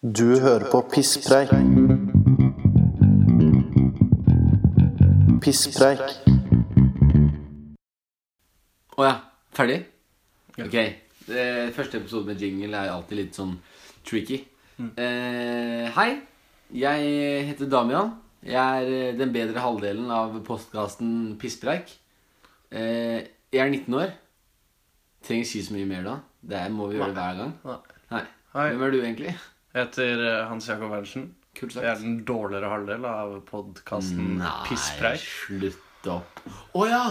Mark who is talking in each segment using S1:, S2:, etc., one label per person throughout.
S1: Du hører på Pisspreik. Pisspreik.
S2: Å ja. Ferdig? Ok. Eh, første episode med jingle er alltid litt sånn tricky.
S3: Mm.
S2: Eh, hei. Jeg heter Damian. Jeg er eh, den bedre halvdelen av postkasten Pisspreik. Eh, jeg er 19 år. Trenger ikke si så mye mer da. Det må vi gjøre hver gang.
S3: Nei.
S2: Nei.
S3: Hei.
S2: Hvem er du, egentlig?
S3: Jeg heter eh, Hans Jakob Berntsen.
S2: Kult
S3: Jeg er
S2: sagt.
S3: den dårligere halvdel av podkasten Pisspreik.
S2: slutt opp. Å ja!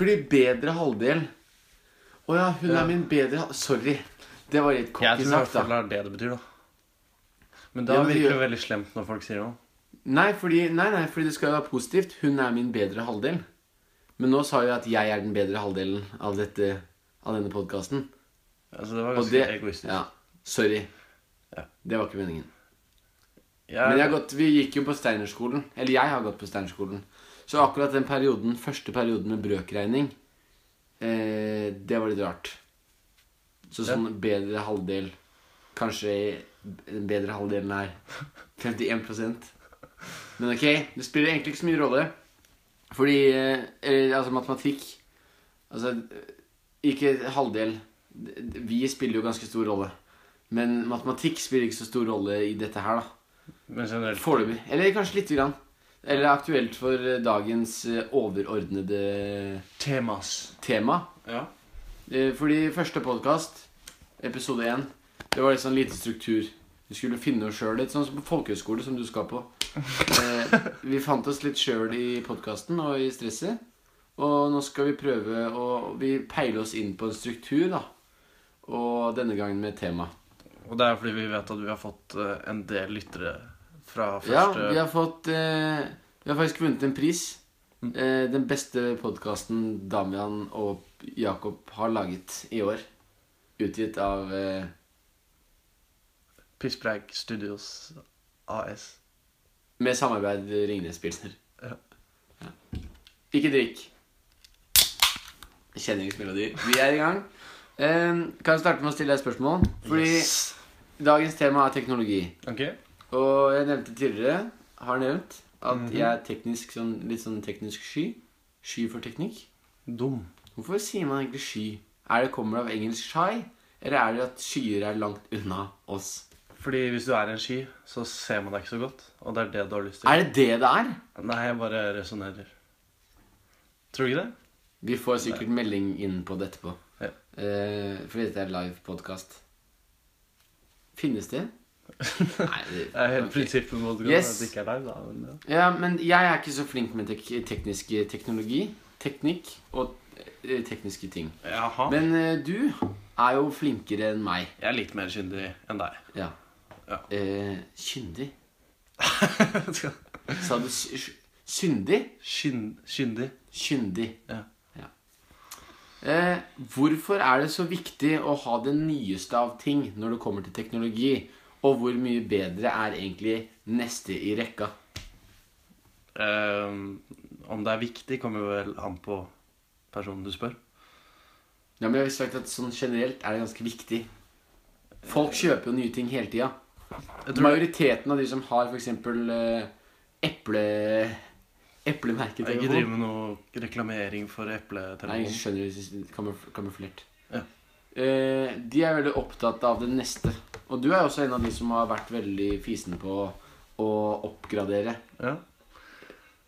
S2: Fordi bedre halvdel Å ja, hun er min bedre hal- Sorry. Det var litt
S3: Jeg
S2: cocky
S3: tror i hvert
S2: sagt, da.
S3: fall det er det det betyr, da. Men da
S2: Ja, men
S3: virker
S2: gjør-
S3: det veldig slemt når folk sier noe.
S2: Nei fordi, nei, nei, fordi det skal jo være positivt. Hun er min bedre halvdel. Men nå sa jeg at jeg er den bedre halvdelen av, dette, av denne podkasten.
S3: Altså, det var
S2: Og
S3: ganske
S2: det
S3: egoistisk.
S2: Ja, sorry.
S3: Ja.
S2: Det var ikke meningen.
S3: Jeg,
S2: Men jeg har gått, vi gikk jo på Steinerskolen. Eller jeg har gått på Steinerskolen. Så akkurat den perioden, første perioden med brøkregning, eh, det var litt rart. Så sånn bedre halvdel Kanskje den bedre halvdelen er 51 Men ok, det spiller egentlig ikke så mye rolle. Fordi eh, Eller altså matematikk Altså ikke halvdel. Vi spiller jo ganske stor rolle. Men matematikk spiller ikke så stor rolle i dette her, da.
S3: men generelt
S2: Foreløpig. Eller kanskje lite grann. Eller aktuelt for eh, dagens eh, overordnede
S3: Temas.
S2: tema.
S3: Ja.
S2: Eh, Fordi første podkast, episode én, det var litt sånn lite struktur. Vi skulle finne oss sjøl litt, sånn som på folkehøyskole, som du skal på. Eh, vi fant oss litt sjøl i podkasten og i stresset. Og nå skal vi prøve å Vi peile oss inn på en struktur, da. Og denne gangen med tema.
S3: Og det er fordi vi vet at vi har fått eh, en del lyttere fra
S2: Ja,
S3: første
S2: vi har fått eh, Vi har faktisk vunnet en pris.
S3: Mm.
S2: Eh, den beste podkasten Damian og Jakob har laget i år. Utgitt av eh,
S3: Pisspreik Studios AS.
S2: Med samarbeid Ringnes-Pilsner.
S3: Ja.
S2: Ja. Ikke drikk. Kjenningsmelodi. Vi er i gang. Eh, kan jeg starte med å stille deg et spørsmål? Fordi
S3: Yes.
S2: dagens tema er teknologi.
S3: Ok.
S2: Og jeg nevnte tidligere, har nevnt, at
S3: Mhm.
S2: jeg er teknisk, sånn, litt sånn teknisk sky. Sky for teknikk.
S3: Dum.
S2: Hvorfor sier man egentlig sky? Er det kommer det av engelsk shy, eller er det at skyer er langt unna oss?
S3: Fordi hvis du er en ski, så ser man deg ikke så godt. Og det er det du har lyst til.
S2: Er det det det er?
S3: Nei, jeg bare resonnerer. Tror du ikke det?
S2: Vi får sikkert melding inn på det etterpå.
S3: Ja.
S2: Eh, fordi dette er live podcast. Finnes det? Nei, det
S3: Det er helt
S2: ok.
S3: prinsippet mot det,
S2: Yes.
S3: at det ikke er deg, da. Men, ja.
S2: Ja, men jeg er ikke så flink med tek teknisk eh, teknologi, teknikk og eh, tekniske ting.
S3: Jaha.
S2: Men eh, du er jo flinkere enn meg.
S3: jeg er litt mer kyndig enn deg.
S2: Ja.
S3: Ja.
S2: Eh, kyndig? Sa du sy- sy- syndig?
S3: Kyn, kyndig.
S2: Kyndig.
S3: Ja.
S2: Eh, hvorfor er det så viktig å ha det nyeste av ting når det kommer til teknologi? Og hvor mye bedre er egentlig neste i rekka?
S3: Ehm, om det er viktig, kommer vel an på personen du spør.
S2: Ja, men jeg har sagt at sånn generelt er det ganske viktig. Folk kjøper jo nye ting hele tida.
S3: Jeg tror
S2: Majoriteten av de som har f.eks. Eh, eple...
S3: jeg ikke driver
S2: Eplemerketelefon.
S3: med noe reklamering for
S2: Nei, jeg
S3: epletelefon.
S2: skjønner det. kamuf- Kamuflert.
S3: Ja.
S2: Eh, de er veldig opptatt av det neste. Og du er også en av de som har vært veldig fisen på å oppgradere.
S3: Ja.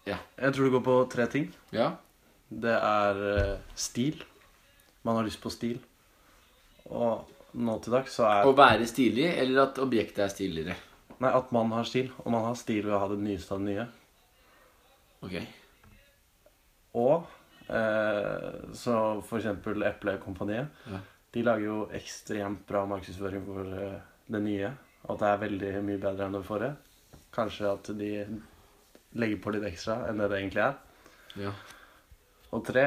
S2: Ja.
S3: Jeg tror det går på tre ting.
S2: Ja.
S3: Det er eh, stil. Man har lyst på stil. Og nå til dags så er
S2: Å være stilig, eller at objektet er stiligere.
S3: Nei, at man har stil. Og man har stil ved å ha det nyeste av det nye.
S2: Ok.
S3: Og eh, så for eksempel Eplekompaniet.
S2: Ja.
S3: De lager jo ekstremt bra markedsføring for eh, det nye. Og at det er veldig mye bedre enn det forrige. Kanskje at de legger på litt ekstra enn det det egentlig er.
S2: Ja.
S3: Og tre,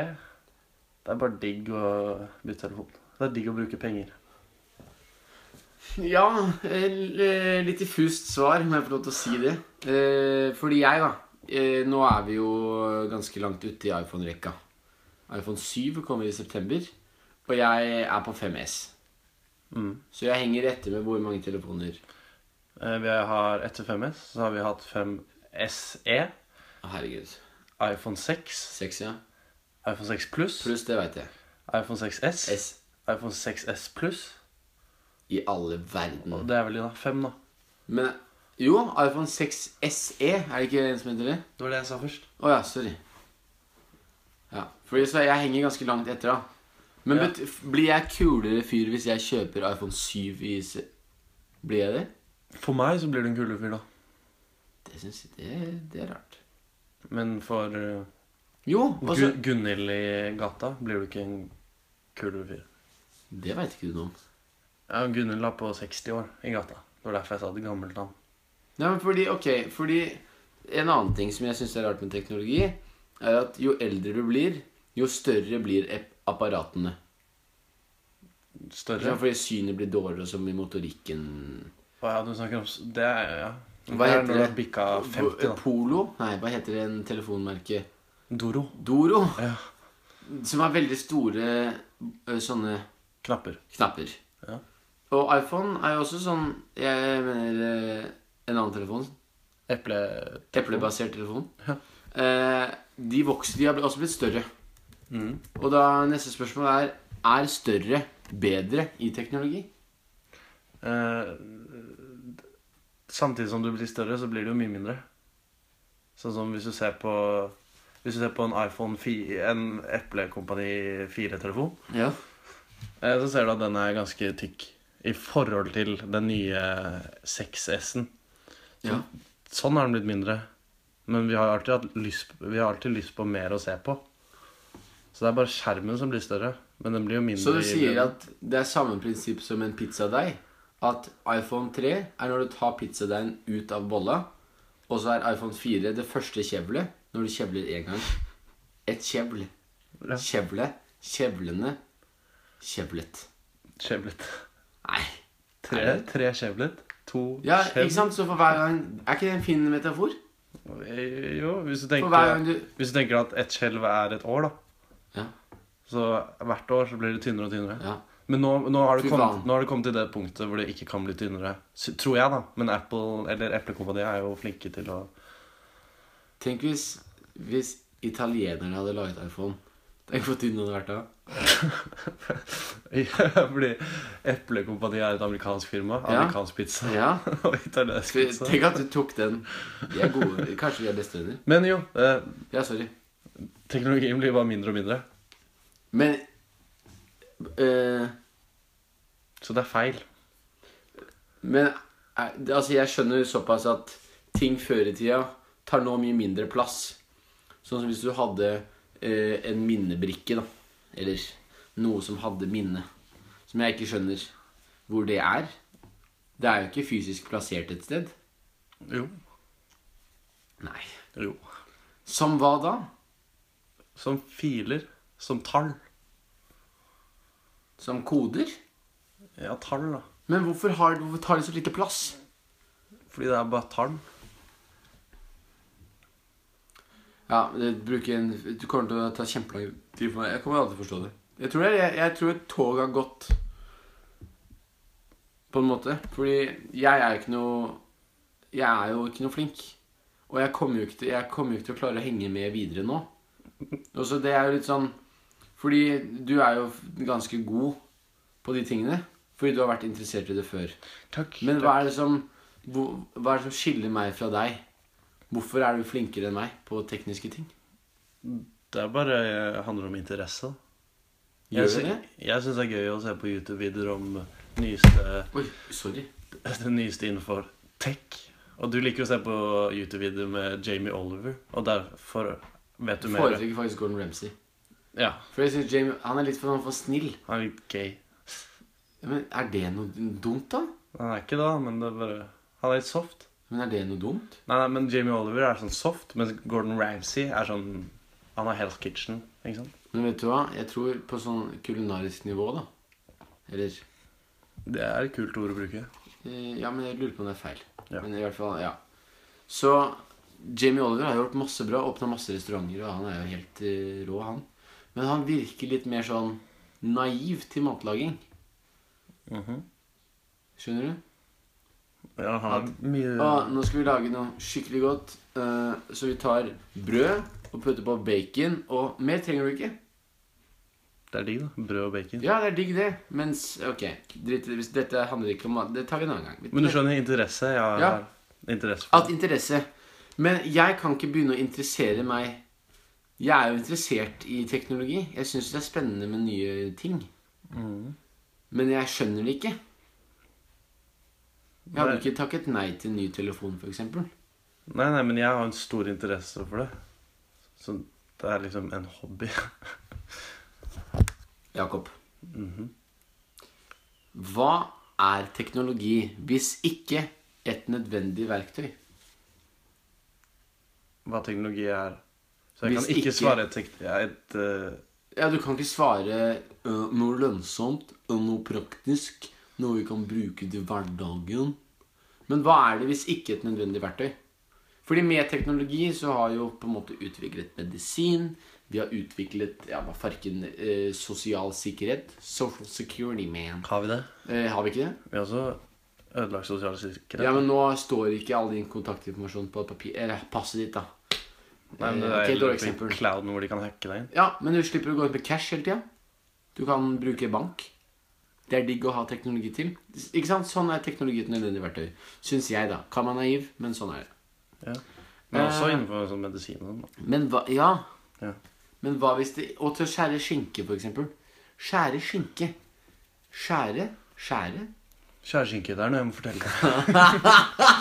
S3: det er bare digg å bytte telefon. Det er digg å bruke penger.
S2: ja el- eh, litt diffust svar, om jeg får lov til å si det. Eh, Fordi jeg, da eh, Nå er vi jo ganske langt ute i iPhone-rekka. iPhone 7 kommer i september, og jeg er på 5S.
S3: Mm.
S2: Så jeg henger etter med hvor mange telefoner.
S3: Eh, Vi har etter 5S, så har vi hatt 5SE,
S2: Å, Herregud.
S3: iPhone 6,
S2: Seks, ja.
S3: iPhone 6 Plus,
S2: Pluss, det veit jeg.
S3: iPhone 6S,
S2: S E.
S3: iPhone 6S Plus.
S2: i alle verden.
S3: Og det er vel de da, fem, da.
S2: Men jo, iPhone 6 SE, er det ikke en som heter det?
S3: Det var det jeg sa først.
S2: Å ja, sorry. Ja, fordi så jeg henger ganske langt etter, da. Men
S3: Ja.
S2: bet- f- blir jeg kulere fyr hvis jeg kjøper iPhone 7 i se- Blir jeg det?
S3: For meg så blir du en kule fyr, da.
S2: Det syns jeg det, det er rart.
S3: Men for eh,
S2: Jo, altså
S3: Gu- Gunhild i gata blir du ikke en kule fyr.
S2: Det veit ikke du noe om.
S3: Ja, Gunhild la på 60 år i gata. Det var derfor jeg sa et gammelt navn.
S2: Nei, men fordi, ok, fordi En annen ting som jeg syns er rart med teknologi, er at jo eldre du blir, jo større blir ep- apparatene.
S3: Større.
S2: Ja, fordi synet blir dårligere, og som i motorikken
S3: Å ja, du snakker om s- Det er ja.
S2: Hva
S3: det?
S2: heter
S3: er når du
S2: det?
S3: har bikka 50, da.
S2: Polo? Nei, hva heter det en telefonmerke?
S3: Doro.
S2: Doro.
S3: Ja.
S2: Som har veldig store ø, sånne
S3: Knapper.
S2: knapper.
S3: Ja.
S2: Og iPhone er jo også sånn Jeg mener ø, en annen telefon.
S3: Eple...
S2: Eplebasert telefon.
S3: Ja.
S2: Eh, de vokser, de har bl- også blitt større.
S3: Mm.
S2: Og da neste spørsmål er Er større bedre i teknologi?
S3: Eh, samtidig som du blir større, så blir du jo mye mindre. Sånn som hvis du ser på Hvis du ser på en iPhone 4, en Eplekompani 4-telefon,
S2: Ja.
S3: eh, så ser du at den er ganske tykk i forhold til den nye 6S-en.
S2: ja.
S3: Sånn har den blitt mindre. Men vi har alltid hatt lyst, vi har alltid lyst på mer å se på. Så det er bare skjermen som blir større. Men den blir jo mindre.
S2: Så du
S3: i
S2: sier
S3: bredden.
S2: at det er samme prinsipp som en pizzadeig? At iPhone 3 er når du tar pizzadeigen ut av bolla, og så er iPhone 4 det første kjevlet når du kjevler én gang. Et kjevl.
S3: Ja.
S2: Kjevle. Kjevlende. Kjevlet.
S3: Skjevlet.
S2: Nei.
S3: Tre, tre skjevlet. To
S2: Ja,
S3: skjev-
S2: ikke sant? Så for hver gang Er ikke det en fin metafor?
S3: Eh, Jo, hvis du
S2: For
S3: tenker,
S2: hver gang du
S3: hvis du tenker at ett skjelv er et år, da.
S2: Ja.
S3: Så hvert år så blir det tynnere og tynnere.
S2: Ja.
S3: Men nå, nå, har det
S2: Fy
S3: kommet,
S2: faen.
S3: nå har det kommet til det punktet hvor det ikke kan bli tynnere. s- Tror jeg, da. Men Apple eller Apple-kompaniet er jo flinke til å
S2: Tenk hvis, hvis italienerne hadde laget iPhone. Tenk hvor tynn den hadde vært da.
S3: Fordi Eplekompaniet er et amerikansk firma.
S2: Ja.
S3: Amerikansk pizza
S2: Ja.
S3: og italiensk
S2: Skal vi-
S3: pizza.
S2: Tenk at du tok den. Vi er gode. Kanskje vi er bestevenner.
S3: Men jo, eh,
S2: Ja, sorry.
S3: teknologien blir bare mindre og mindre.
S2: Men eh,
S3: Så det er feil.
S2: Men eh, det- altså, jeg skjønner såpass at ting før i tida tar nå mye mindre plass. Sånn som hvis du hadde eh, en minnebrikke, da. Eller noe som hadde minne. Som jeg ikke skjønner hvor det er. Det er jo ikke fysisk plassert et sted.
S3: Jo.
S2: Nei.
S3: jo.
S2: Som hva da?
S3: Som filer. Som tall.
S2: Som koder?
S3: Ja, tall, da.
S2: Men hvorfor, har, hvorfor tar de så lite plass?
S3: Fordi det er bare tall.
S2: Ja, det bruker en Du kommer til å ta kjempelang tid for meg. Jeg kommer aldri til å forstå det. Jeg tror, det, jeg, jeg tror et tog har gått På en måte. Fordi jeg er jo ikke noe Jeg er jo ikke noe flink. Og jeg kommer jo ikke til, jeg kommer jo ikke til å klare å henge med videre nå. Og så det er jo litt sånn Fordi du er jo ganske god på de tingene. Fordi du har vært interessert i det før.
S3: Takk.
S2: Men hva er det som hvor, Hva er det som skiller meg fra deg? Hvorfor er du flinkere enn meg på tekniske ting?
S3: Det er bare, eh, handler om interesse. da.
S2: Gjør
S3: Jeg sy-
S2: det det?
S3: Jeg syns det er gøy å se på YouTube-videoer om nyeste,
S2: Oi, sorry.
S3: det nyeste innenfor tech. Og du liker å se på YouTube-videoer med Jamie Oliver, og derfor vet du
S2: Jeg
S3: mer.
S2: foretrekker faktisk Gordon Ramsay.
S3: Ja,
S2: For jeg synes Jamie, Han er litt for, for snill.
S3: han er litt gay.
S2: Ja, Men er det noe dumt, da?
S3: Han er ikke det, da, men det er bare Han er litt soft.
S2: Men er det noe dumt?
S3: Nei, nei, men Jamie Oliver er sånn soft, mens Gordon Ramsay er sånn Han er Hell's Kitchen, ikke sant?
S2: Men vet du hva? Jeg tror på sånn kulinarisk nivå, da. Eller
S3: Det er et kult ord å bruke.
S2: eh, Ja, men jeg lurer på om det er feil.
S3: Ja.
S2: Men i hvert fall, ja. Så Jamie Oliver har gjort masse bra. Åpna masse restauranter, og han er jo helt eh, rå, han. Men han virker litt mer sånn naiv til matlaging.
S3: Mhm.
S2: Skjønner du?
S3: Ja, han har mye
S2: Og nå skal vi lage noe skikkelig godt. eh, så vi tar brød og putter på bacon, og mer trenger du ikke.
S3: Det er digg, da. Brød og bacon.
S2: Ja, det er digg, det. Mens Ok, drit i det. Hvis Dette handler ikke om mat. Det tar vi en annen gang. Vi-
S3: Men du skjønner interesse? Ja.
S2: Ja.
S3: Interesse for
S2: At interesse. Men jeg kan ikke begynne å interessere meg Jeg er jo interessert i teknologi. Jeg syns det er spennende med nye ting.
S3: Mm.
S2: Men jeg skjønner det ikke. Jeg hadde
S3: Nei.
S2: ikke takket nei til en ny telefon, f.eks.
S3: Nei, nei, men jeg har en stor interesse for det. Så det er liksom en hobby.
S2: Jakob. Mhm. Hva er teknologi hvis ikke et nødvendig verktøy?
S3: Hva teknologi er. Så jeg
S2: Hvis
S3: kan ikke,
S2: ikke-
S3: svare et, tek- ja, et eh,
S2: Ja, du kan ikke svare øh, noe lønnsomt, øh, noe praktisk, noe vi kan bruke til hverdagen. Men hva er det hvis ikke et nødvendig verktøy? Fordi med teknologi så har jo på en måte utviklet medisin, vi har utviklet ja, hva farken, eh, sosial sikkerhet, social security man.
S3: Har vi det?
S2: Eh, har vi ikke det?
S3: Vi har også ødelagt sosial sikkerhet.
S2: Ja, men nå står ikke all din kontaktinformasjon på papir, eller passet ditt da.
S3: Nei, men det
S2: Eh,
S3: er
S2: ok,
S3: helt
S2: dårlig
S3: oppe i
S2: eksempel.
S3: clouden hvor de kan hacke deg inn.
S2: Ja, men du slipper å gå ut med cash hele tida. Du kan bruke bank. Det er digg å ha teknologi til. Ikke sant? Sånn er teknologi et nødvendig verktøy. Syns jeg, da. Kan man naiv, men sånn er det.
S3: Ja. Men også
S2: Eh.
S3: innenfor sånn medisin og sånn.
S2: Men hva Ja.
S3: da. Ja.
S2: Men hva hvis det Og til å skjære skinke, for eksempel. Skjære skinke. Skjære, skjære
S3: Skjæreskinke, det er noe jeg må fortelle deg.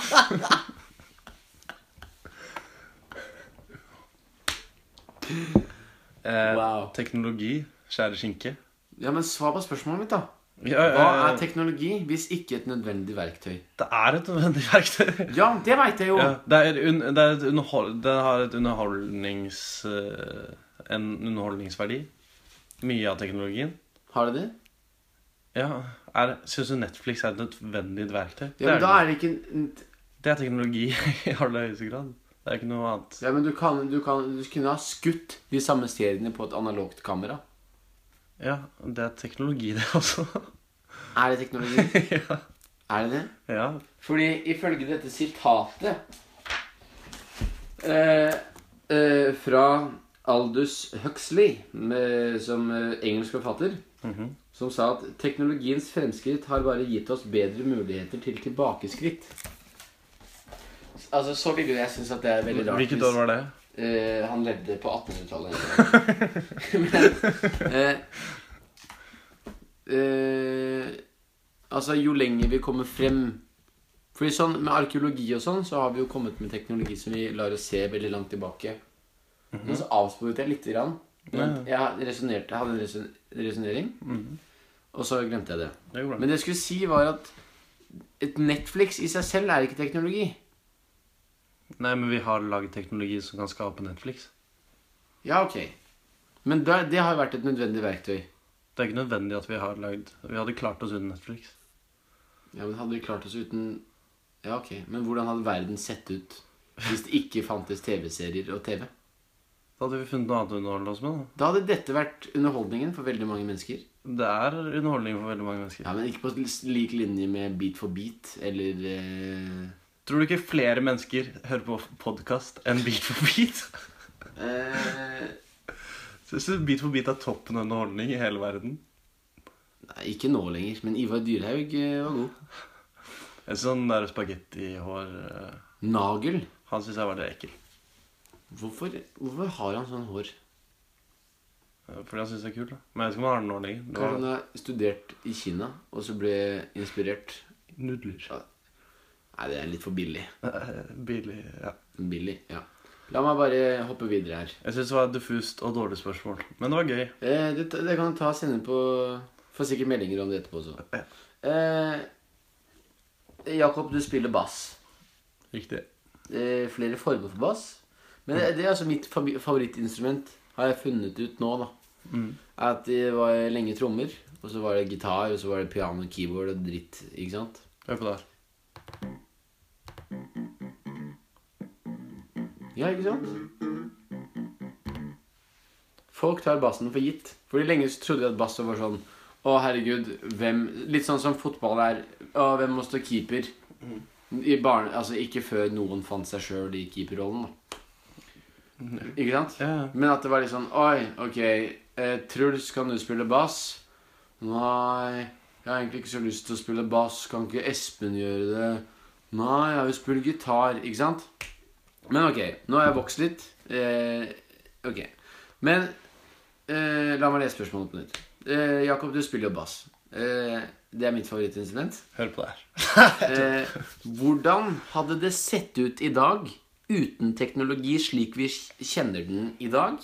S3: eh,
S2: Wow.
S3: Teknologi, skjæreskinke.
S2: Ja, men svar på spørsmålet mitt, da.
S3: Ja,
S2: Hva
S3: eh,
S2: er teknologi hvis ikke et nødvendig verktøy?
S3: Det er et nødvendig verktøy.
S2: Ja, det veit jeg jo.
S3: Ja, det, er un, det, er et underhold, det har et underholdnings... eh, En underholdningsverdi. Mye av teknologien.
S2: Har det det?
S3: Ja, er, Syns du Netflix er et nødvendig verktøy?
S2: Ja, men
S3: det,
S2: da
S3: er,
S2: er det ikke
S3: det. det er teknologi i aller høyeste grad. Det er ikke noe annet.
S2: Ja, men du kan, du kan Du kunne ha skutt de samme seriene på et analogt kamera.
S3: Ja, det er teknologi, det også.
S2: Er det teknologi?
S3: ja.
S2: Er det det?
S3: ja.
S2: Fordi ifølge dette sitatet eh, eh, fra Aldous Huxley, med, som eh, engelsk forfatter,
S3: Mhm.
S2: som sa at teknologiens fremskritt har bare gitt oss bedre muligheter til tilbakeskritt. Altså, så ville jeg synes at det er veldig rart
S3: Hvilket
S2: hvis-
S3: år var det?
S2: Eh, han levde på 1800-tallet. Men eh, eh, Altså, jo lenger vi kommer frem Fordi sånn, Med arkeologi og sånn så har vi jo kommet med teknologi som vi lar oss se veldig langt tilbake.
S3: Mhm.
S2: Men så avsporet jeg lite grann. Men Jeg resonerte- jeg hadde en reson- resonering, og så glemte jeg det.
S3: Mhm. Det går bra.
S2: Men det jeg skulle si, var at et Netflix i seg selv er ikke teknologi.
S3: Nei, men vi har laget teknologi som kan skape Netflix.
S2: Ja, ok. Men da, det har jo vært et nødvendig verktøy.
S3: Det er ikke nødvendig at vi har lagd Vi hadde klart oss uten Netflix.
S2: Ja, men Hadde vi klart oss uten Ja, ok. Men hvordan hadde verden sett ut hvis det ikke fantes TV-serier og TV?
S3: Da hadde vi funnet noe annet å underholde oss med.
S2: Da hadde dette vært underholdningen for veldig mange mennesker.
S3: da Det er underholdning for veldig mange mennesker.
S2: Ja, Men ikke på lik linje med Beat for beat eller eh,
S3: Tror du ikke flere mennesker hører på podkast enn Beat for beat?
S2: eh,
S3: Syns du Beat for beat er toppen av underholdning i hele verden?
S2: Nei, ikke nå lenger. Men Ivar Dyrhaug eh, var god.
S3: En sånn der spagettihår eh,
S2: Nagel.
S3: Han syns jeg var litt ekkel.
S2: Hvorfor, hvorfor har han sånn hår?
S3: Eh, Fordi han syns det er kult. da Men jeg vet ikke om han har det nå lenger. Det
S2: Kanskje
S3: var
S2: han har studert i Kina og så ble inspirert?
S3: nudler.
S2: Nei, det er litt for billig.
S3: Eh, Billig Ja.
S2: Billig, ja. La meg bare hoppe videre her.
S3: Jeg syns det var et diffust og dårlig spørsmål. Men det var gøy.
S2: Eh, det, det kan du ta og sende på Får sikkert meldinger om det etterpå også. Eh, Jakob, du spiller bass.
S3: Riktig.
S2: Eh, flere former for bass. Men det, det er altså mitt fabi- favorittinstrument, har jeg funnet ut nå, da. At det var lenge trommer, og så var det gitar, og så var det piano, keyboard og dritt. Ikke sant?
S3: Hør på det her.
S2: Ja, ikke sant? Folk tar bassen for gitt. Fordi lenge så trodde jeg at bass var sånn Å, herregud, hvem Litt sånn som fotball er. Å, hvem må stå keeper? i barne, altså ikke før noen fant seg sjøl i keeperrollen, da. Ikke sant?
S3: Ja, ja.
S2: Men at det var litt sånn Oi, ok, eh, Truls, kan du spille bass? Nei, jeg har egentlig ikke så lyst til å spille bass. Kan ikke Espen gjøre det? Nei, jeg vil spille gitar. Ikke sant? Men ok, nå har jeg vokst litt. Eh, ok. Men eh, la meg lese spørsmålet på nytt. Eh, Jakob, du spiller jo bass. Eh, det er mitt favorittinstrument.
S3: Hør på det her.
S2: Eh, hvordan hadde det sett ut i dag uten teknologi slik vi kjenner den i dag?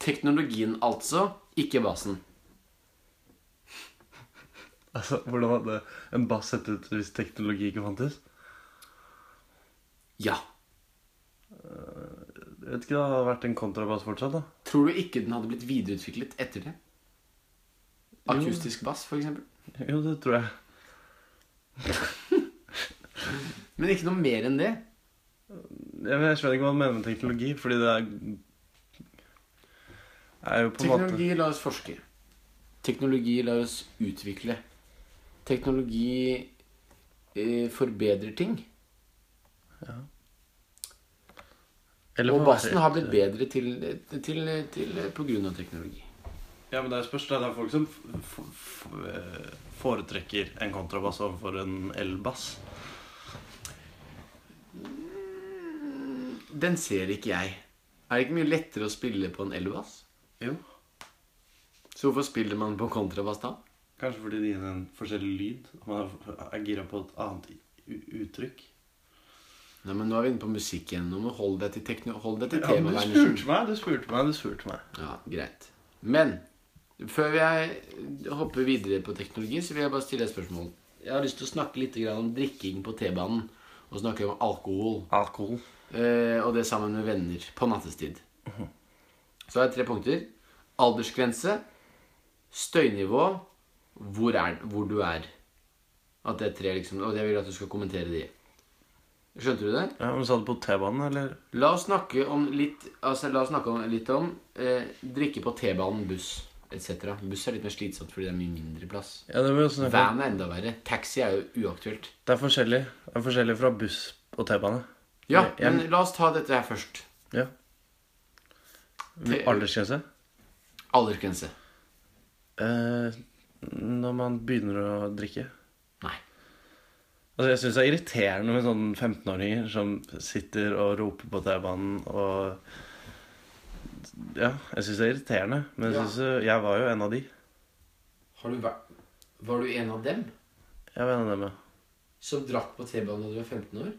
S2: Teknologien altså, ikke basen.
S3: Altså, Hvordan hadde en bass sett ut hvis teknologi ikke fantes?
S2: Ja.
S3: Jeg vet ikke, Det hadde vært en kontrabass fortsatt, da.
S2: Tror du ikke den hadde blitt videreutviklet etter det? Akustisk bass, for eksempel.
S3: Jo, det tror jeg.
S2: Men ikke noe mer enn det.
S3: Ja, men Jeg skjønner ikke hva du mener med teknologi, fordi det er er jo på en måte
S2: Teknologi lar oss forske. Teknologi lar oss utvikle. Teknologi eh, forbedrer ting.
S3: Eller
S2: Og
S3: hva er det?
S2: bassen har blitt bedre til, til, til, til, på grunn av teknologi.
S3: Ja, men det er spørs. Det er folk som f- f- f- eh, foretrekker en kontrabass overfor en elbass.
S2: Den ser ikke jeg. Er det ikke mye lettere å spille på en elbass?
S3: Jo.
S2: Så hvorfor spiller man på kontrabass da?
S3: Kanskje fordi det gir en forskjellig lyd. og Man er- er gira på et annet u- uttrykk.
S2: Nei, men Nå er vi inne på musikk igjen. Nå må du holde deg til, tekno holde deg til
S3: Ja, men du
S2: temavernet.
S3: spurte meg, du spurte meg, du spurte meg.
S2: Ja, greit. Men før jeg hopper videre på teknologi, så vil jeg bare stille et spørsmål. Jeg har lyst til å snakke litt grann om drikking på T-banen. Og snakke om alkohol.
S3: Alkohol.
S2: eh, Og det sammen med venner på nattestid. Så har jeg tre punkter. Aldersgrense, støynivå, hvor, er, hvor du er. At det er tre, liksom. Og jeg vil at du skal kommentere de. Skjønte du det?
S3: Ja, men Sa du på T-banen, eller?
S2: La oss snakke om litt, altså, la oss snakke om, litt om eh, drikke på T-banen, buss etc. Buss er litt mer slitsomt fordi det er mye mindre plass.
S3: Ja, det, var sånn,
S2: Van er enda verre. Taxi er jo uaktuelt.
S3: det er forskjellig. Det er forskjellig fra buss og T-bane.
S2: Ja,
S3: Jeg-
S2: men la oss ta dette her først.
S3: Ja.
S2: Te-
S3: Aldersgrense?
S2: Aldersgrense.
S3: Eh, når man begynner å drikke.
S2: Nei.
S3: Altså, Jeg syns det er irriterende med sånne 15-åringer som sitter og roper på T-banen og Ja, jeg syns det er irriterende, men jeg,
S2: Ja.
S3: synes, jo- jeg var jo en av de.
S2: Har du vært Var du en av dem
S3: Jeg var en av dem, ja.
S2: som drakk på T-banen da du var 15 år?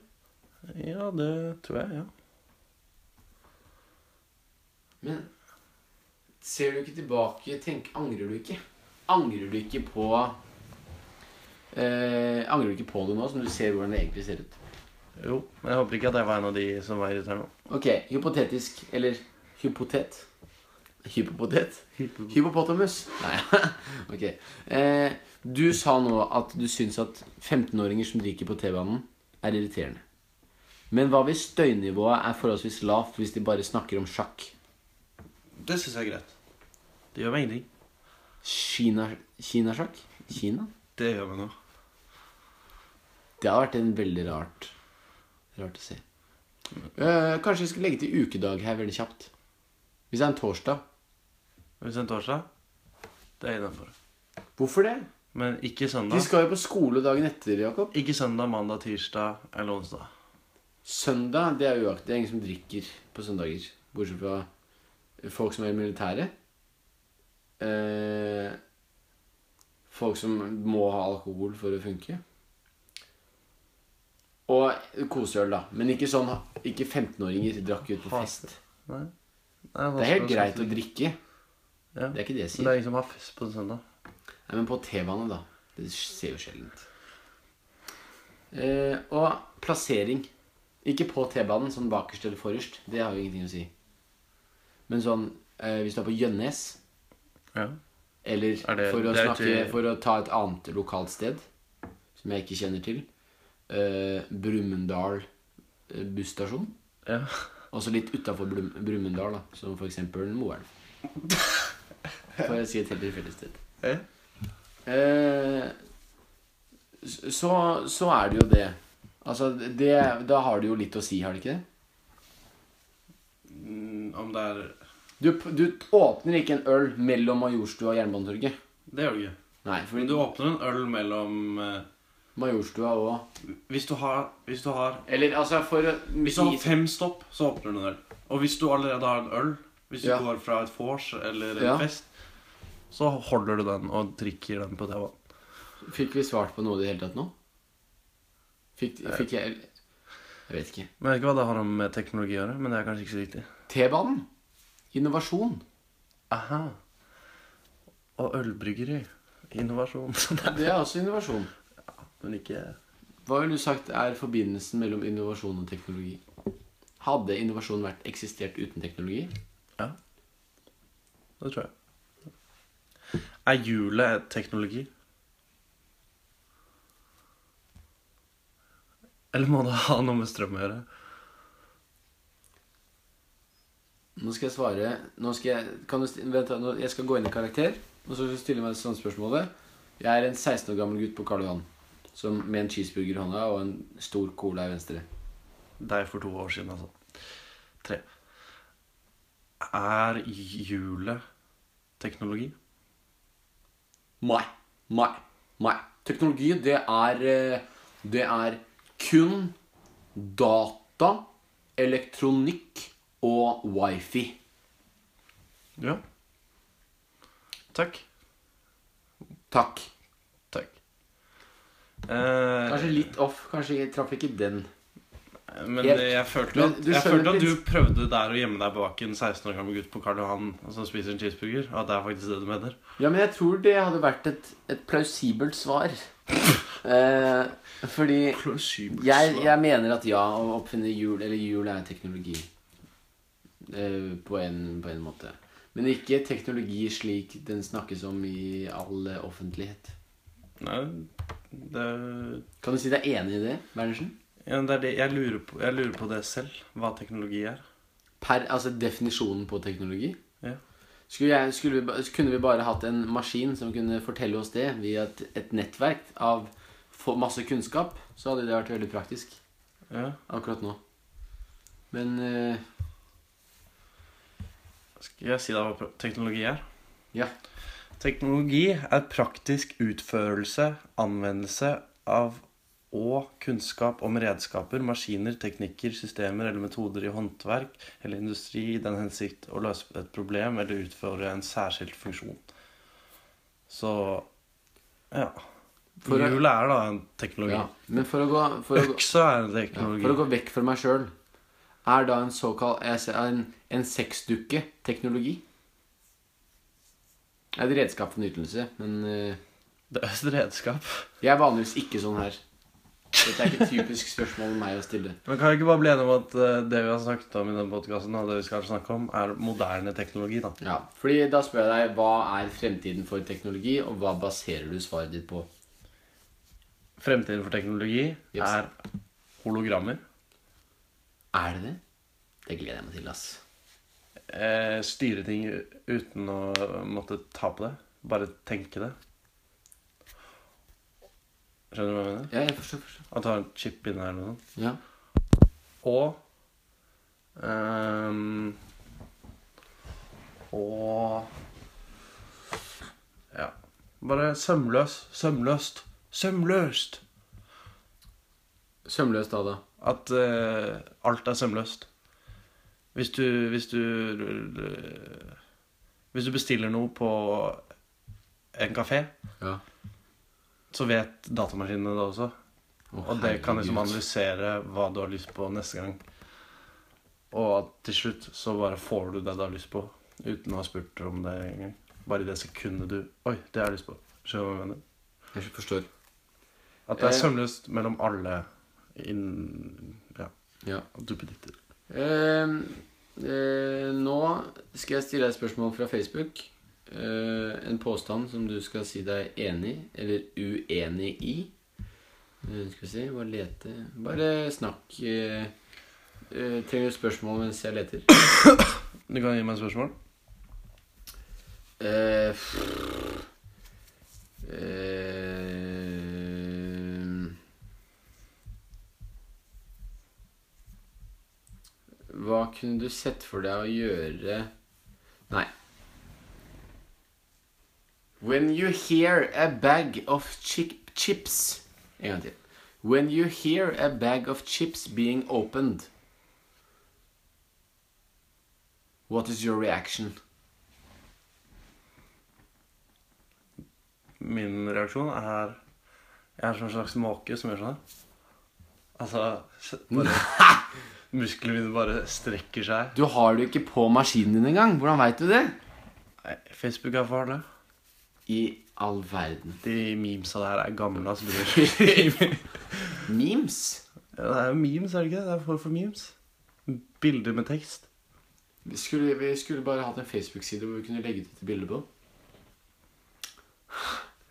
S3: Ja, det tror jeg, ja.
S2: Men ser du ikke tilbake, tenk, angrer du ikke? Angrer du ikke på eh, Angrer du ikke på det nå, som du ser hvordan det egentlig ser ut?
S3: Jo, men jeg håper ikke at jeg var en av de som var irriterende.
S2: Ok, hypotetisk, eller hypotet. Hypopotet? Hypopotamus? Nei, ok. Eh, du sa nå at du syns at 15-åringer som drikker på T-banen, er irriterende. Men hva hvis støynivået er forholdsvis lavt hvis de bare snakker om sjakk?
S3: Det syns jeg er greit. Det gjør meg ingenting.
S2: Kina- Kinasjakk? Kina, Kina?
S3: Det gjør meg noe.
S2: Det hadde vært en veldig rart Rart å se Eh, Kanskje vi skal legge til ukedag her veldig kjapt Hvis det er en torsdag
S3: Hvis det er en torsdag, det er innafor.
S2: Hvorfor det?
S3: Men ikke
S2: De
S3: søndag.
S2: skal jo på skole dagen etter, Jakob
S3: Ikke søndag, mandag, tirsdag eller onsdag.
S2: Søndag, det er uaktig Det er ingen som drikker på søndager Bortsett fra folk som er i militæret eh, Folk som må ha alkohol for å funke Og koseøl da Men ikke sånn Ikke 15-åringer drakk ut på fest
S3: Nei.
S2: Det er helt greit å drikke.
S3: Ja.
S2: Det er ikke det jeg
S3: Men det sånn
S2: sier.
S3: er ingen som har fest på en søndag.
S2: Nei, men på T-bane, da. Det ser jo sjelden ut. Eh, og plassering. Ikke på T-banen, sånn bakerst eller forrest. Det har jo ingenting å si. Men sånn eh, hvis du er på Gjønnes,
S3: Ja.
S2: eller
S3: Er det-
S2: for, å
S3: det er
S2: snakke,
S3: ikke-
S2: for å ta et annet lokalt sted som jeg ikke kjenner til eh, Brumunddal eh, busstasjon.
S3: ja.
S2: Også litt utafor Brum Brumunddal, da. Som for eksempel Moelv. For å si et helt tilfeldig sted. Eh, s- så, så er det jo det Altså, det, Da har det jo litt å si, har det ikke det?
S3: Mm, Om det er
S2: Du, p- du åpner ikke en øl mellom Majorstua og Jernbanetorget.
S3: Det gjør du ikke.
S2: Nei, for
S3: Men du åpner en øl mellom eh,
S2: Majorstua og
S3: Hvis du har, hvis du har
S2: Eller altså, for å
S3: Hvis du har fem stopp, så åpner du en øl. Og hvis du allerede har en øl, hvis du
S2: Ja.
S3: går fra et vors eller en
S2: Ja.
S3: fest, så holder du den og drikker den på TV-en.
S2: Fikk vi svart på noe i det hele tatt nå? Fikk, fikk jeg Jeg vet ikke.
S3: Men jeg vet ikke hva det har med teknologi å gjøre, men det er kanskje ikke så viktig.
S2: T-banen. Innovasjon.
S3: Aha. Og ølbryggeri. Innovasjon.
S2: Det er også innovasjon.
S3: men ikke
S2: Hva ville du sagt er forbindelsen mellom innovasjon og teknologi? Hadde innovasjon vært eksistert uten teknologi?
S3: Ja. Det tror jeg. Er hjulet teknologi? Eller må det ha noe med strøm å gjøre?
S2: Nå skal jeg svare Nå skal jeg kan du, sti- Vent, da, nå, jeg skal gå inn i karakter, og så stiller jeg meg sånn spørsmålet. Jeg er en 16 år gammel gutt på Karl Johan som, med en cheeseburger i hånda og en stor cola i venstre.
S3: Deg for to år siden, altså. Tre. Er hjulet teknologi?
S2: Nei. Nei. Nei. Teknologi, det er eh, Det er kun data, elektronikk og wifi.
S3: Ja. Takk.
S2: Takk.
S3: Takk. Eh,
S2: Kanskje litt off. Kanskje jeg traff ikke den.
S3: Men
S2: Helt.
S3: jeg følte
S2: Men
S3: at,
S2: du
S3: jeg
S2: skjønner
S3: følte at du
S2: prins-
S3: prøvde der å gjemme deg bak en 16 år gammel gutt på Karl Johan som spiser en cheeseburger. og At det er faktisk det du mener.
S2: Ja, men jeg tror det hadde vært et, et plausibelt svar. Eh, fordi jeg, jeg mener at ja, å oppfinne hjul Eller hjul er teknologi. Eh, på, en, på en måte. Men ikke teknologi slik den snakkes om i all eh, offentlighet.
S3: Nei, det,
S2: Kan du si deg enig i det, Bernersen?
S3: ja, det er det jeg lurer, på, jeg lurer på det selv. Hva teknologi er.
S2: Per, altså definisjonen på teknologi?
S3: Ja.
S2: Skulle jeg, skulle vi, ba- kunne vi bare hatt en maskin som kunne fortelle oss det via et, et nettverk av få- masse kunnskap, så hadde det vært veldig praktisk
S3: Ja.
S2: akkurat nå. Men eh,
S3: Skal jeg si deg hva pro- teknologi er?
S2: Ja.
S3: Teknologi er praktisk utførelse, anvendelse av og kunnskap om redskaper, maskiner, teknikker, systemer eller metoder i håndverk eller industri i den hensikt å løse et problem eller utføre en særskilt funksjon. Så ja.
S2: For å-
S3: Hjulet er da en teknologi.
S2: ja. Men for å gå, for å gå,
S3: Øksa er en
S2: ja,
S3: teknologi.
S2: for å gå vekk fra meg sjøl Er da en såkalt jeg ser- En, en sexdukke teknologi? Det er et redskap for nytelse, men eh,
S3: Det er et redskap.
S2: Jeg er vanligvis ikke sånn her. Dette er ikke et typisk spørsmål meg å stille.
S3: Men kan vi ikke bare bli enige om at eh, det vi har snakket om i denne podcasten og det vi skal snakke om, er moderne teknologi, da?
S2: Ja, fordi da spør jeg deg hva er fremtiden for teknologi, og hva baserer du svaret ditt på?
S3: Fremtiden for teknologi
S2: Yes.
S3: er hologrammer,
S2: Er det det? Det gleder jeg meg til, ass.
S3: eh, styre ting u- uten å måtte ta på det, bare tenke det. Skjønner du hva jeg mener?
S2: Ja, jeg forstår, forstår.
S3: At du har en chip inne her eller noe sånt.
S2: Ja.
S3: Og ehm, Og Ja. Bare sømløs. Sømløst. Sømløst!
S2: Sømløst da, da.
S3: At eh, alt er sømløst. Hvis du Hvis du eh, Hvis du bestiller noe på en kafé,
S2: Ja.
S3: så vet datamaskinene det også.
S2: Å,
S3: Og det kan liksom
S2: herregud.
S3: analysere hva du har lyst på neste gang. Og at til slutt så bare får du det du har lyst på, uten å ha spurt om det engang. Bare i det sekundet du Oi, det har jeg lyst på. Skjønner du hva jeg mener?
S2: Jeg forstår.
S3: At det er
S2: Eh.
S3: sømløst mellom alle innen Ja,
S2: Ja.
S3: duppeditter.
S2: Ehm, eh, nå skal jeg stille deg et spørsmål fra Facebook. Eh, en påstand som du skal si deg enig eller uenig i. Eh, skal vi se Bare lete Bare snakk. Eh, eh, trenger du spørsmål mens jeg leter?
S3: Du kan gi meg et spørsmål?
S2: Eh, pff. Eh, Hva kunne du sett for deg å gjøre Nei. When you hear a bag of chi- chips En gang til. When you hear a bag of chips being opened What is your reaction?
S3: Min reaksjon er Jeg er som en slags måke som gjør sånn her. Altså s- bare, Musklene mine bare strekker seg.
S2: Du har det jo ikke på maskinen din engang. Hvordan veit du det?
S3: Nei, Facebook er farlig.
S2: I all verden.
S3: De memesa der er gamle, altså. bror.
S2: Memes?
S3: Ja, det er jo memes, er det ikke? det? Det er en form for memes. Bilder med tekst.
S2: Vi skulle, vi skulle bare hatt en Facebook-side hvor vi kunne legge ut et bilde på.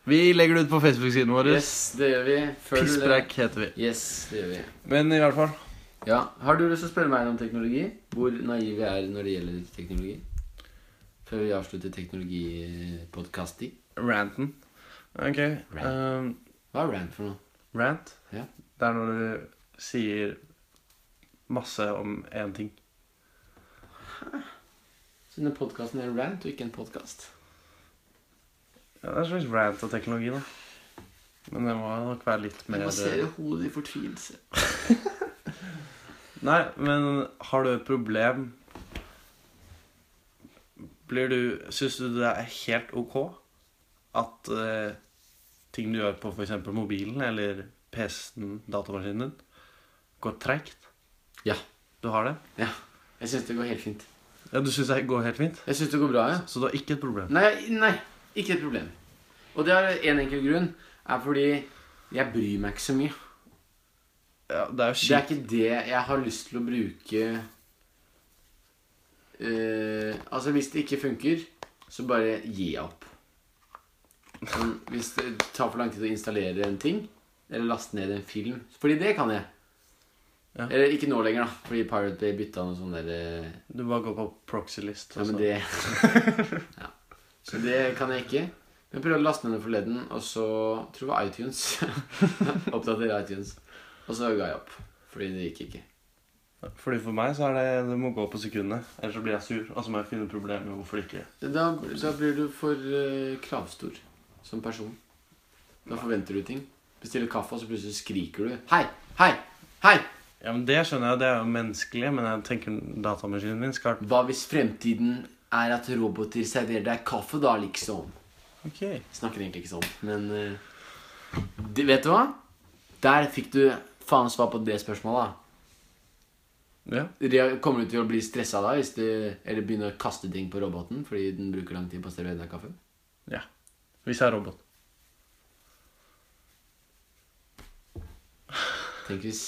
S3: Vi legger det ut på Facebook-siden vår.
S2: Yes, det gjør vi. Følg det.
S3: Pisspreik heter vi.
S2: Yes, det gjør vi.
S3: Men i hvert fall
S2: Ja, Har du lyst til å spørre meg noe om teknologi? Hvor naive vi er når det gjelder teknologi? Før vi avslutter teknologipodkasting.
S3: Ranten. Ok. Rant.
S2: Hva er rant for noe?
S3: rant.
S2: Ja.
S3: Det er når du sier masse om én ting.
S2: Så denne podkasten er en rant og ikke en podkast?
S3: Ja, det er en slags rant av teknologi, da. Men det må nok være litt mer eh,
S2: hodet i fortvilelse.
S3: Nei, men har du et problem Blir du Syns du det er helt ok at eh, ting du gjør på f.eks. mobilen eller PC-en, datamaskinen din, går treigt?
S2: Ja.
S3: Du har det?
S2: ja. Jeg syns det går helt fint.
S3: Ja, Du syns det går helt fint?
S2: Jeg syns det går bra, ja.
S3: Så du har ikke et problem?
S2: Nei, nei, ikke et problem. Og det er en enkel grunn. Er fordi jeg bryr meg ikke så mye.
S3: Ja, det er jo
S2: Det er
S3: kjipt.
S2: ikke det jeg har lyst til å bruke eh, Altså, hvis det ikke funker, så bare gir jeg opp. Sånn, hvis det tar for lang tid å installere en ting, eller laste ned en film Fordi det kan jeg.
S3: Ja.
S2: Eller ikke nå lenger, da, fordi Pirate Bay bytta noe sånn derre
S3: Du bare går på proxy-list.
S2: Ja, men
S3: altså.
S2: det ja. Så det kan jeg ikke. Men jeg prøvde å laste ned den forleden, og så tror jeg det var iTunes. Oppdatere iTunes. Og så ga jeg opp. Fordi det gikk ikke.
S3: Fordi For meg så er det det må gå på sekundene. Ellers så blir jeg sur. Og så må jeg finne problemer med hvorfor det ikke
S2: Da, da blir du for eh, kravstor som person. Da forventer du ting. Bestiller kaffe, og så plutselig skriker du 'Hei! Hei! Hei!'
S3: Ja, men Det skjønner jeg, det er jo menneskelig, men jeg tenker datamaskinen min skal
S2: Hva hvis fremtiden er at roboter serverer deg kaffe, da, liksom?
S3: Ok.
S2: Snakker egentlig ikke sånn, men eh, de, Vet du hva? Der fikk du faen svar på det spørsmålet. da.
S3: Ja.
S2: Rea- Kommer du til å bli stressa da hvis du eller begynner å kaste ting på roboten fordi den bruker lang tid på å servere deg kaffe?
S3: ja. Hvis jeg er robot.
S2: Tenk hvis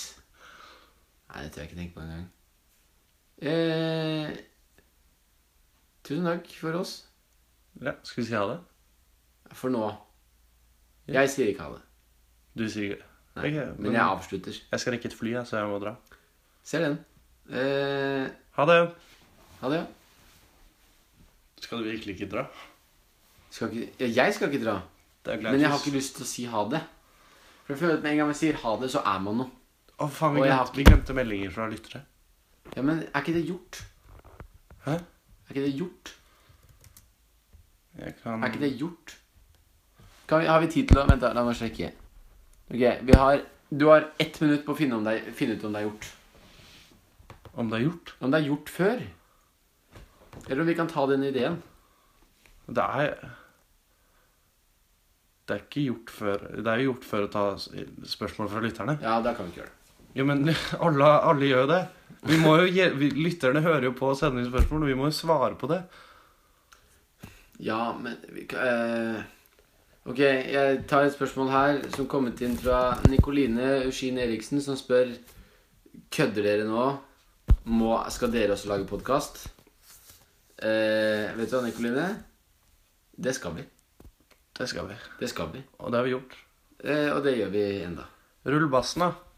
S2: Nei, det tør jeg ikke tenke på engang. Eh, tusen takk for oss.
S3: Ja, Skal vi si ha det?
S2: For nå.
S3: Ja.
S2: Jeg sier ikke ha det.
S3: Du sier ikke
S2: Nei,
S3: Ok,
S2: men,
S3: men
S2: jeg
S3: jeg
S2: avslutter.
S3: skal rekke et fly, jeg, så jeg må dra.
S2: Ser den. Eh,
S3: Ha det!
S2: ha det.
S3: Skal du virkelig ikke dra?
S2: Skal ikke, ja, jeg skal ikke dra.
S3: Det er
S2: Men jeg har ikke lyst til å si ha det. For jeg føler at med en gang man sier ha det, så er man noe.
S3: Å, faen, vi
S2: Og jeg har
S3: glemte, vi glemte meldinger fra lyttere.
S2: Ja, Men er ikke det gjort?
S3: Hæ?
S2: Er ikke det gjort?
S3: Jeg kan
S2: Er ikke det gjort? Kan vi, har vi tid til å Vent, da. La meg sjekke. Ok, vi har Du har ett minutt på å finne, om det, er- finne ut om det er gjort.
S3: Om det er gjort?
S2: Om det er gjort før. Eller om vi kan ta den ideen.
S3: Det er Det er ikke gjort før Det er jo gjort før å ta s- spørsmål fra lytterne.
S2: Ja, da kan vi ikke gjøre det.
S3: Jo, men alle, alle gjør jo det. Vi må jo, gjel- vi, lytterne hører jo på og sender inn spørsmål, og vi må jo svare på det.
S2: Ja, men vi kan eh, Ok, jeg tar et spørsmål her som kommet inn fra Nikoline Ushin Eriksen, som spør Kødder dere nå? Må, skal dere også lage podkast? Eh, vet du hva, Nikoline? Det skal vi.
S3: Det skal vi.
S2: Det skal vi.
S3: Og det har vi gjort.
S2: Eh, og det gjør vi enda.
S3: Rull bassen, da.